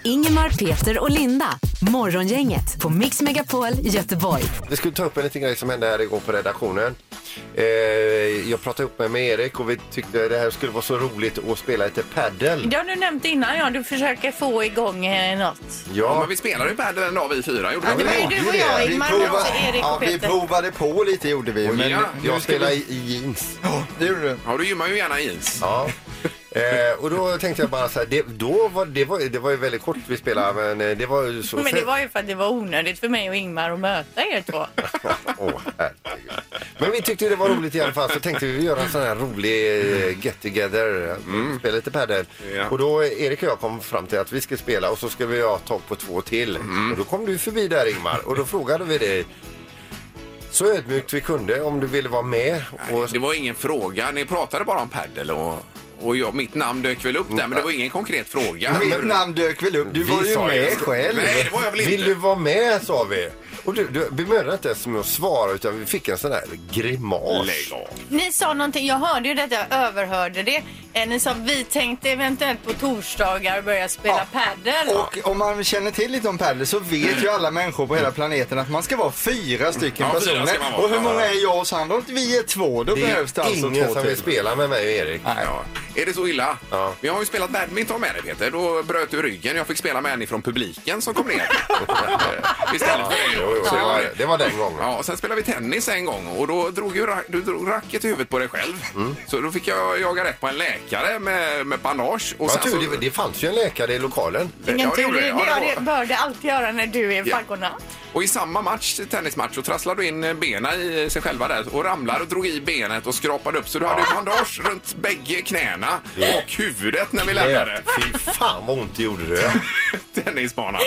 [SPEAKER 6] Ingemar, Peter och Linda. Morgongänget på Mix Megapol Göteborg.
[SPEAKER 3] Vi skulle ta upp en liten grej som hände här igår på redaktionen. Eh, jag pratade upp mig med Erik och vi tyckte det här skulle vara så roligt att spela lite paddel.
[SPEAKER 4] Det har du nämnt innan, ja. Du försöker få igång eh, något.
[SPEAKER 2] Ja,
[SPEAKER 3] Ja,
[SPEAKER 2] men vi spelade ju padel en dag vi fyra. Gjorde
[SPEAKER 4] Ja,
[SPEAKER 2] vi
[SPEAKER 4] det var ju
[SPEAKER 2] inte?
[SPEAKER 4] du och jag,
[SPEAKER 8] Vi,
[SPEAKER 4] Ingmar, och också Erik
[SPEAKER 8] ja,
[SPEAKER 4] och
[SPEAKER 8] vi
[SPEAKER 4] Peter.
[SPEAKER 8] provade på lite gjorde vi.
[SPEAKER 2] Oj,
[SPEAKER 8] Men
[SPEAKER 2] ja.
[SPEAKER 8] nu
[SPEAKER 3] jag
[SPEAKER 8] ska vi-
[SPEAKER 3] spelar i i jeans.
[SPEAKER 8] Ja, det gjorde du.
[SPEAKER 2] Ja, du gymmar ju gärna jeans.
[SPEAKER 3] Ja. Eh, och då tänkte jag bara så här, det, då var, det, var, det var ju väldigt kort vi spelade men eh, det var ju så...
[SPEAKER 4] Men det var ju för att det var onödigt för mig och Ingmar att möta er två.
[SPEAKER 3] Åh, herregud. Men vi tyckte det var roligt i alla fall så tänkte vi göra en sån här rolig eh, get together, Mm, spela lite padel.
[SPEAKER 2] Ja.
[SPEAKER 3] Och då eh, Erik och jag kom fram till att vi ska spela och så ska vi ha tag på två till.
[SPEAKER 8] Mm.
[SPEAKER 3] Och då kom du förbi där Ingmar och då frågade vi dig så ödmjukt vi kunde om du ville vara med. Och,
[SPEAKER 2] Det var ingen fråga. Ni pratade bara om padel och, och jag, mitt namn dök väl upp där, men det var ingen konkret fråga.
[SPEAKER 8] Mitt namn dök väl upp. Du var ju
[SPEAKER 3] sa ju
[SPEAKER 8] med
[SPEAKER 3] så.
[SPEAKER 8] själv.
[SPEAKER 2] Nej, det var jag väl
[SPEAKER 3] vill du
[SPEAKER 2] inte.
[SPEAKER 3] vara med sa vi. Och du, du bemödade inte ens med att svara utan vi fick en sån här grimas.
[SPEAKER 2] Lägg av.
[SPEAKER 4] Ni sa någonting, jag hörde ju detta, jag överhörde det. Eh, Ni sa vi tänkte eventuellt på torsdagar börja spela padel.
[SPEAKER 8] Och om man känner till lite om padel så vet ju alla människor på hela planeten att man ska vara fyra stycken
[SPEAKER 2] Ja, fyra ska
[SPEAKER 8] personer.
[SPEAKER 2] man vara.
[SPEAKER 8] och hur många är jag och Sandra? Om Vi är två, då
[SPEAKER 3] Det
[SPEAKER 8] behövs det
[SPEAKER 3] är
[SPEAKER 8] alltså
[SPEAKER 3] ingen
[SPEAKER 8] två
[SPEAKER 3] som vill
[SPEAKER 8] till.
[SPEAKER 3] spela med mig och Erik.
[SPEAKER 2] Ja. Är det så illa?
[SPEAKER 3] Ja.
[SPEAKER 2] Vi har ju spelat badminton med dig Peter. Då bröt du ryggen. Jag fick spela med en från publiken som kom ner. Eh, Istället för dig.
[SPEAKER 3] Jo, jo,
[SPEAKER 2] Så
[SPEAKER 3] det,
[SPEAKER 2] det var
[SPEAKER 3] var,
[SPEAKER 2] det.
[SPEAKER 3] det var den gången.
[SPEAKER 2] Ja, och sen spelade vi tennis en gång och då drog ju ra- du drog racket i huvudet på dig själv.
[SPEAKER 3] Mm.
[SPEAKER 2] Så då fick jag jaga rätt på en läkare med, med bandage. Och
[SPEAKER 3] Jag
[SPEAKER 2] sen
[SPEAKER 3] tur,
[SPEAKER 2] så,
[SPEAKER 3] det, det fanns ju en läkare i lokalen.
[SPEAKER 4] Ingen
[SPEAKER 2] Ja, det
[SPEAKER 4] tur,
[SPEAKER 2] gjorde
[SPEAKER 4] det,
[SPEAKER 2] jag. Ja, det
[SPEAKER 4] det,
[SPEAKER 2] var-
[SPEAKER 4] bör det alltid göra när du är i
[SPEAKER 2] Ja.
[SPEAKER 4] faggorna.
[SPEAKER 2] Och i samma match, tennismatch, så trasslade du in benen i sig själva där och ramlade och drog i benet och skrapade upp. Så du hade ju bandage runt bägge knäna och huvudet när vi lämnade
[SPEAKER 3] Fy fan vad ont det gjorde du.
[SPEAKER 2] tennisbanan.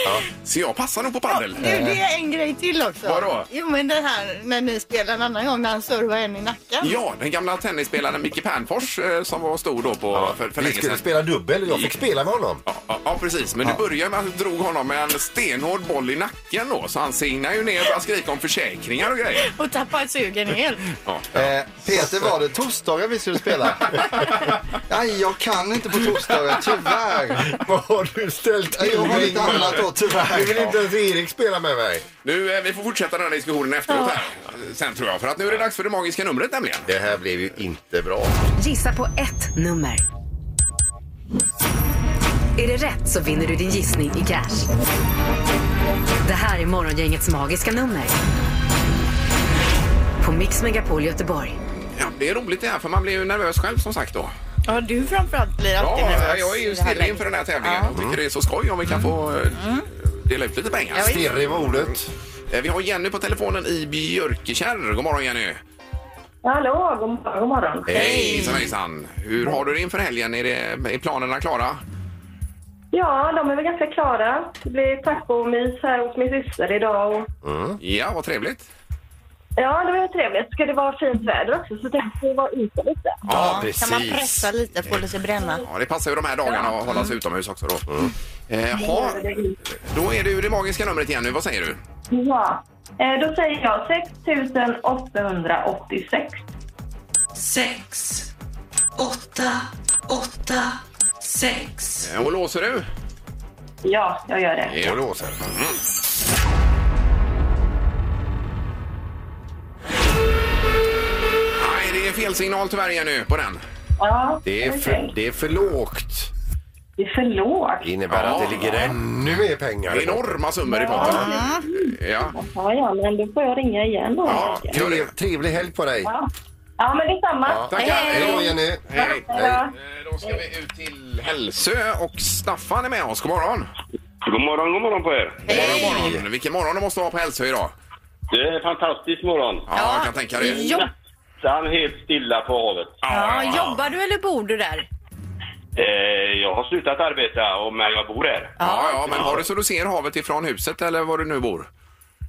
[SPEAKER 2] Så jag passar nog på padel.
[SPEAKER 4] Du, det är en grej till också.
[SPEAKER 2] Vadå?
[SPEAKER 4] Jo, men den här när ni spelar en annan gång när han servar en i nacken.
[SPEAKER 2] Ja, den gamla tennisspelaren Micke Pernfors eh, som var stor då på, för, för
[SPEAKER 3] Vi
[SPEAKER 2] länge
[SPEAKER 3] skulle
[SPEAKER 2] sedan.
[SPEAKER 3] spela dubbel och jag fick spela med honom.
[SPEAKER 2] Ja, ja, ja, precis. Men det började med att du drog honom med en stenhård boll i nacken då. Så han signade ju ner och började skrika om försäkringar och grejer.
[SPEAKER 4] Och tappar sugen helt.
[SPEAKER 2] Ja.
[SPEAKER 8] Eh, Peter, var det torsdagar vi skulle spela? Nej, jag kan inte på torsdagar, tyvärr.
[SPEAKER 3] Vad har du ställt
[SPEAKER 8] Jag har lite annat då,
[SPEAKER 3] Du vill
[SPEAKER 8] tyvärr.
[SPEAKER 3] inte ens Erik spela med mig.
[SPEAKER 2] Nu, eh, vi får fortsätta den här diskussionen efteråt här. eh, Sen tror jag. För att nu är det dags för det magiska numret nämligen.
[SPEAKER 3] Det här blev ju inte bra.
[SPEAKER 6] Gissa på ett nummer.
[SPEAKER 1] Är det rätt så vinner du din gissning i cash. Det här är Morgongängets magiska nummer. På Mix Megapol Göteborg.
[SPEAKER 2] Ja, det är roligt det här för man blir ju nervös själv som sagt då.
[SPEAKER 4] Ja, du framförallt blir
[SPEAKER 2] Ja,
[SPEAKER 4] alltid nervös.
[SPEAKER 2] jag är
[SPEAKER 4] i
[SPEAKER 2] ju
[SPEAKER 4] det här
[SPEAKER 2] stirrig
[SPEAKER 4] läget. Mm.
[SPEAKER 2] inför den här tävlingen och tycker det är så skoj om vi kan få eh, dela ut lite pengar.
[SPEAKER 3] Stirrig var ordet.
[SPEAKER 2] Eh, Vi har Jenny på telefonen i Björkekärr. God morgon Jenny!
[SPEAKER 10] Hallå, god morgon. God morgon.
[SPEAKER 2] Hej! Hejsan, hejsan. Hur har du det inför helgen? Är, det, är planerna klara?
[SPEAKER 10] Ja, de är väl ganska klara. Det blir tacomys här hos min syster idag. Och...
[SPEAKER 2] Ja, vad trevligt.
[SPEAKER 10] Ja, det var trevligt. Ska det vara fint väder också så tänkte vi vara ute lite.
[SPEAKER 3] Ja,
[SPEAKER 4] Kan man pressa lite, få lite bränna.
[SPEAKER 2] Ja, det passar ju de här dagarna att hålla sig utomhus också då. Eh, ha, då är det ju det magiska numret igen nu. Vad säger du?
[SPEAKER 10] Ja. Eh, Då säger jag 6 886.
[SPEAKER 12] 6, 8, 8, 6.
[SPEAKER 2] Eh, Och låser du?
[SPEAKER 10] Ja, jag gör det.
[SPEAKER 3] Och låser.
[SPEAKER 2] Nej, det är fel signal tyvärr Jenny på den.
[SPEAKER 10] Ja,
[SPEAKER 3] Det är för, det är för lågt.
[SPEAKER 10] det är för
[SPEAKER 3] Det
[SPEAKER 10] lågt.
[SPEAKER 3] innebär
[SPEAKER 2] Ja.
[SPEAKER 3] att det ligger ännu mer pengar.
[SPEAKER 2] Enorma summor i potten. Ja.
[SPEAKER 10] Ja, ja, men då får jag ringa igen då.
[SPEAKER 2] Ja,
[SPEAKER 10] tänker jag.
[SPEAKER 2] gör det.
[SPEAKER 3] Trev, trevlig helg på dig.
[SPEAKER 10] Ja. ja men detsamma.
[SPEAKER 3] Ja.
[SPEAKER 2] Tackar.
[SPEAKER 3] Hej då Jenny.
[SPEAKER 2] Hej.
[SPEAKER 10] Hej.
[SPEAKER 2] Eh, Då ska vi ut till Hälsö och Staffan är med oss. God morgon!
[SPEAKER 7] God morgon, god morgon på er.
[SPEAKER 2] Hej. Morgon, morgon. Vilken morgon du måste ha på Hälsö idag.
[SPEAKER 7] Det är en fantastisk morgon.
[SPEAKER 2] Ja, jag kan tänka det.
[SPEAKER 7] Jo. Nästan helt stilla på havet.
[SPEAKER 5] Ja, jobbar du eller bor du där?
[SPEAKER 7] Eh, jag har slutat arbeta, och- men jag bor här.
[SPEAKER 2] Ja, ja, men har det så du ser havet ifrån huset eller var du nu bor?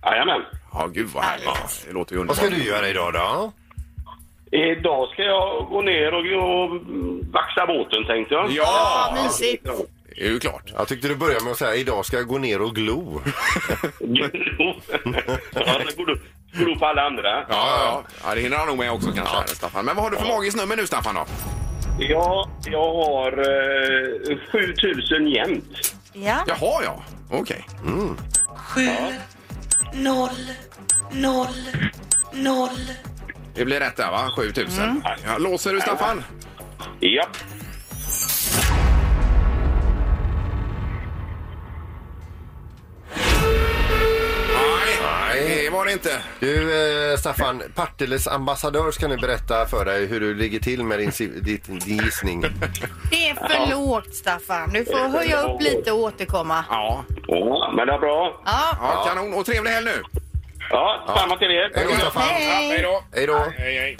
[SPEAKER 7] Jajamän.
[SPEAKER 2] Ja, gud vad härligt. Det låter ju
[SPEAKER 3] Vad
[SPEAKER 2] underbart.
[SPEAKER 3] ska du göra idag då?
[SPEAKER 7] Idag ska jag gå ner och, och mm, vaxa båten, tänkte jag.
[SPEAKER 2] Ja,
[SPEAKER 5] mysigt.
[SPEAKER 2] Det är ju klart.
[SPEAKER 3] Jag tyckte du började med att säga idag ska jag gå ner och glo.
[SPEAKER 7] Ja, det går du- går du på alla andra.
[SPEAKER 2] Ja, ja, ja. ja, det hinner han nog med också kanske, Staffan. Men vad har du för magiskt nummer nu, Staffan? Då?
[SPEAKER 7] Ja, jag har eh, 7000 jämt.
[SPEAKER 5] Ja.
[SPEAKER 2] Jaha, ja. Okej. Mm.
[SPEAKER 12] Sju, noll, noll, noll. Mm.
[SPEAKER 2] Det blir rätt där, va? 7000. Ja, låser du, Staffan?
[SPEAKER 7] Ja.
[SPEAKER 2] Nej, Nej, det var det inte.
[SPEAKER 3] Du eh, Staffan, Parteles ambassadör ska nu berätta för dig hur du ligger till med din, si- ditt- din gissning.
[SPEAKER 5] Det är för lågt, Staffan. Du får höja upp lite och återkomma.
[SPEAKER 2] Ja.
[SPEAKER 7] ja, men det är bra.
[SPEAKER 5] Ja,
[SPEAKER 2] Ja, kanon. Och trevlig helg nu!
[SPEAKER 7] Ja, samma till er.
[SPEAKER 3] Hej då Staffan!
[SPEAKER 2] Ja, hej då!
[SPEAKER 3] Hej då!
[SPEAKER 2] Hej, hej.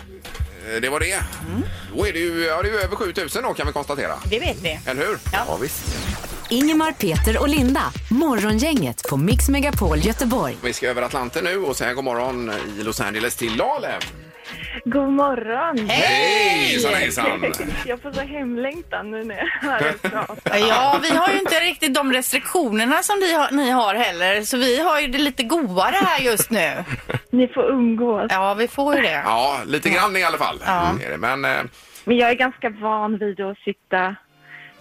[SPEAKER 2] Eh, Det var det.
[SPEAKER 12] Mm.
[SPEAKER 2] Då är det ju, ja, det är ju över 7000 då kan vi konstatera.
[SPEAKER 5] det vet ni.
[SPEAKER 2] Eller hur?
[SPEAKER 3] Ja, visst.
[SPEAKER 6] Ingemar, Peter och Linda. Morgongänget på Mix Megapol Göteborg.
[SPEAKER 2] Vi ska över Atlanten nu och säga god morgon i Los Angeles till Lalev.
[SPEAKER 10] God morgon!
[SPEAKER 2] Hejsan hejsan!
[SPEAKER 10] Jag får så hemlängtan nu när jag hör er prata.
[SPEAKER 5] Ja, vi har ju inte riktigt de restriktionerna som ni har, ni har heller, så vi har ju det lite godare här just nu.
[SPEAKER 10] Ni får umgås.
[SPEAKER 5] Ja, vi får ju det.
[SPEAKER 2] Ja, lite grann i alla fall. Är det. Men eh,
[SPEAKER 10] Men jag är ganska van vid att sitta,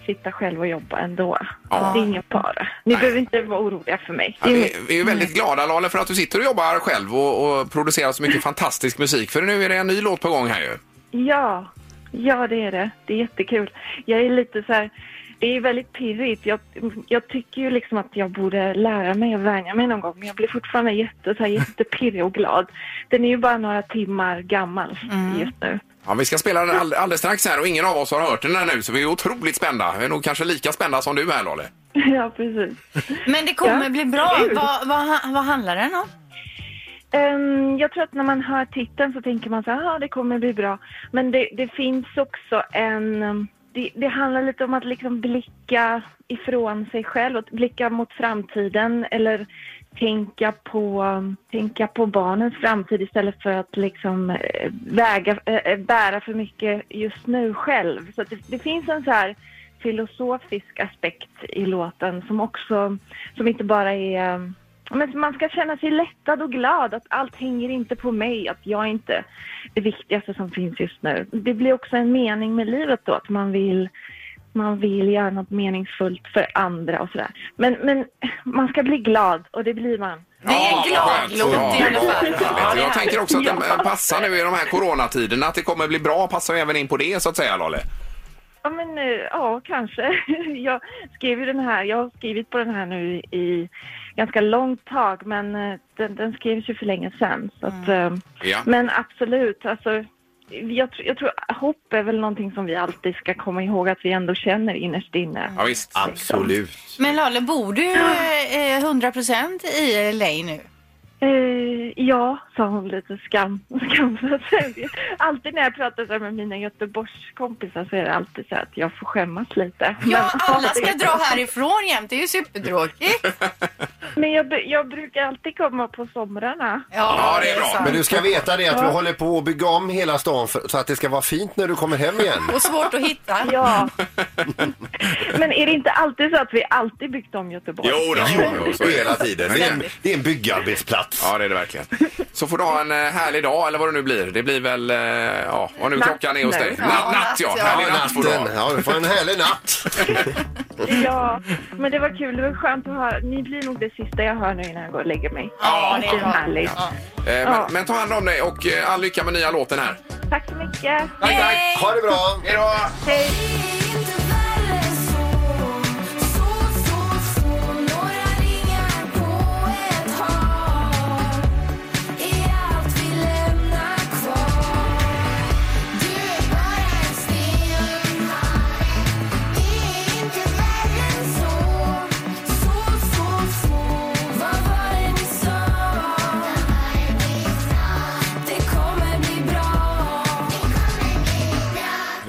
[SPEAKER 10] sitta själv och jobba ändå.
[SPEAKER 2] Ja.
[SPEAKER 10] Det är ingen fara. Ni behöver inte vara oroliga för mig.
[SPEAKER 2] ja,
[SPEAKER 10] Det är
[SPEAKER 2] vi, vi är väldigt glada Lale för att du sitter och jobbar själv och, och producerar så mycket fantastisk musik. För nu är det en ny låt på gång här ju.
[SPEAKER 10] Ja, ja det är det. Det är jättekul. Jag är lite så här, det är väldigt pirrigt. Jag, jag tycker ju liksom att jag borde lära mig att vänja mig någon gång men jag blir fortfarande jätte, så här, jättepirrig och glad. Den är ju bara några timmar gammal just nu.
[SPEAKER 2] Ja, vi ska spela den all, alldeles strax här och ingen av oss har hört den här nu så vi är otroligt spända. Vi är nog kanske lika spända som du är Lale.
[SPEAKER 10] ja, precis.
[SPEAKER 5] Men det kommer
[SPEAKER 10] Ja.
[SPEAKER 5] bli bra.
[SPEAKER 10] Kul.
[SPEAKER 5] Vad, vad, ha- vad handlar den om?
[SPEAKER 10] Ehm, jag tror att när man hör titeln så tänker man så här, "Jaha, det kommer bli bra. Men det, det finns också en... um, Det, det handlar lite om att liksom blicka ifrån sig själv och blicka mot framtiden eller tänka på, um, tänka på barnens framtid istället för att liksom eh, väga, eh, eh, bära för mycket just nu själv. Så att det, det finns en så här filosofisk aspekt i låten som också, som inte bara är um, Ja, Men man ska känna sig lättad och glad att allt hänger inte på mig, att jag är inte det viktigaste som finns just nu. Det blir också en mening med livet då, att man vill, man vill göra något meningsfullt för andra och sådär. Men, men man ska bli glad och det blir man.
[SPEAKER 5] Det är en
[SPEAKER 2] Ja,
[SPEAKER 5] glad
[SPEAKER 2] skönt.
[SPEAKER 5] låt i
[SPEAKER 2] Ja,
[SPEAKER 5] alla fall. Ja,
[SPEAKER 2] härligt.
[SPEAKER 5] det är
[SPEAKER 2] Jag tänker också att den
[SPEAKER 10] Ja.
[SPEAKER 2] passar nu i de här coronatiderna, att det kommer bli bra, passar ju även in på det så att säga Lale.
[SPEAKER 10] Ja, men eh, ja, kanske. Jag skrev ju den här, jag har skrivit på den här nu i ganska långt tag, men eh, den, den skrevs ju för länge sedan. Så att, eh,
[SPEAKER 2] Ja.
[SPEAKER 10] Men absolut, alltså, jag, tr- jag tror hopp är väl någonting som vi alltid ska komma ihåg att vi ändå känner innerst inne.
[SPEAKER 2] Ja, visst.
[SPEAKER 3] Absolut.
[SPEAKER 5] Men Lale, bor du eh, eh, 100% i LA nu?
[SPEAKER 10] Eh, ja, sa hon lite skam, skamlöst. alltid när jag pratar så här med mina Göteborgskompisar så är det alltid så här att jag får skämmas lite.
[SPEAKER 5] Ja,
[SPEAKER 10] Men-
[SPEAKER 5] alla ska dra härifrån jämt. Det är ju supertråkigt.
[SPEAKER 10] Men jag, br- jag brukar alltid komma på somrarna.
[SPEAKER 2] Ja, det är bra.
[SPEAKER 5] sant.
[SPEAKER 3] Men du ska veta det att vi håller på att bygga om hela stan för, så att det ska vara fint när du kommer hem igen.
[SPEAKER 5] Och svårt att hitta.
[SPEAKER 10] Ja. Men är det inte alltid så att vi alltid byggt om Göteborg?
[SPEAKER 2] Jo, då. jo, så är
[SPEAKER 3] Hela
[SPEAKER 2] det.
[SPEAKER 3] tiden. Det är en, det är en byggarbetsplats.
[SPEAKER 2] Ja, det är det verkligen. Så får du ha en eh, härlig dag eller vad det nu blir. Det blir väl, eh, ja, vad nu
[SPEAKER 10] Natt
[SPEAKER 2] klockan är hos
[SPEAKER 10] nu.
[SPEAKER 2] dig.
[SPEAKER 5] Ja,
[SPEAKER 2] Natt, natt
[SPEAKER 5] natt,
[SPEAKER 2] ja.
[SPEAKER 5] ja.
[SPEAKER 2] Härlig natt får du ha.
[SPEAKER 3] Natten. Ja, du får en härlig natt.
[SPEAKER 10] Ja, men det var kul. Det var skönt att höra. Ni blir nog det sista jag hör nu innan jag går och lägger mig.
[SPEAKER 5] Ja, det är
[SPEAKER 10] det är
[SPEAKER 5] bra.
[SPEAKER 10] härligt.
[SPEAKER 2] Eh, Men, men ta hand om dig och eh, all lycka med nya låten här.
[SPEAKER 10] Tack så mycket.
[SPEAKER 2] Tack, tack.
[SPEAKER 3] Ha det bra.
[SPEAKER 2] Hej då!
[SPEAKER 10] Hej.
[SPEAKER 12] Så, så, så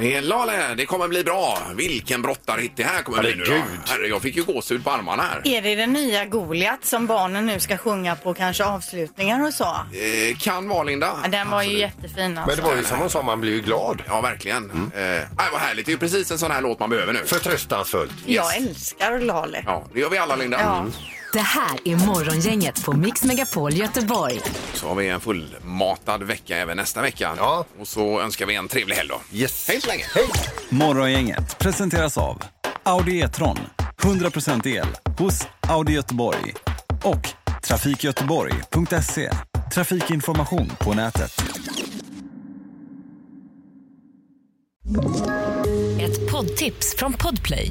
[SPEAKER 2] eh, Lale, det kommer bli bra. Vilken brottarhit det här kommer bli nu då. Herre, jag fick ju gåshud på armarna här.
[SPEAKER 4] Är det den nya Goliat som barnen nu ska sjunga på kanske avslutningar och så?
[SPEAKER 2] Eh, kan vara Linda.
[SPEAKER 4] Ja, Den var ju jättefin
[SPEAKER 3] Men det
[SPEAKER 4] alltså.
[SPEAKER 3] var ju som hon sa, man blir ju glad.
[SPEAKER 2] Ja, verkligen. Eh, nej, vad härligt. Det är ju precis en sån här låt man behöver nu.
[SPEAKER 3] Förtröstansfullt.
[SPEAKER 4] alltså. Jag älskar Lale.
[SPEAKER 2] Ja, det gör vi alla Linda. Mm.
[SPEAKER 4] Ja.
[SPEAKER 6] Det här är Morgongänget på Mix Megapol Göteborg.
[SPEAKER 2] Så har vi en fullmatad vecka även nästa vecka.
[SPEAKER 3] Ja.
[SPEAKER 2] Och så önskar vi en trevlig helg då.
[SPEAKER 14] Yes.
[SPEAKER 2] Hej så länge!
[SPEAKER 14] Morgongänget presenteras av Audi E-tron. 100% el hos Audi Göteborg. Och trafikgöteborg.se. Trafikinformation på nätet.
[SPEAKER 15] Ett poddtips från Podplay.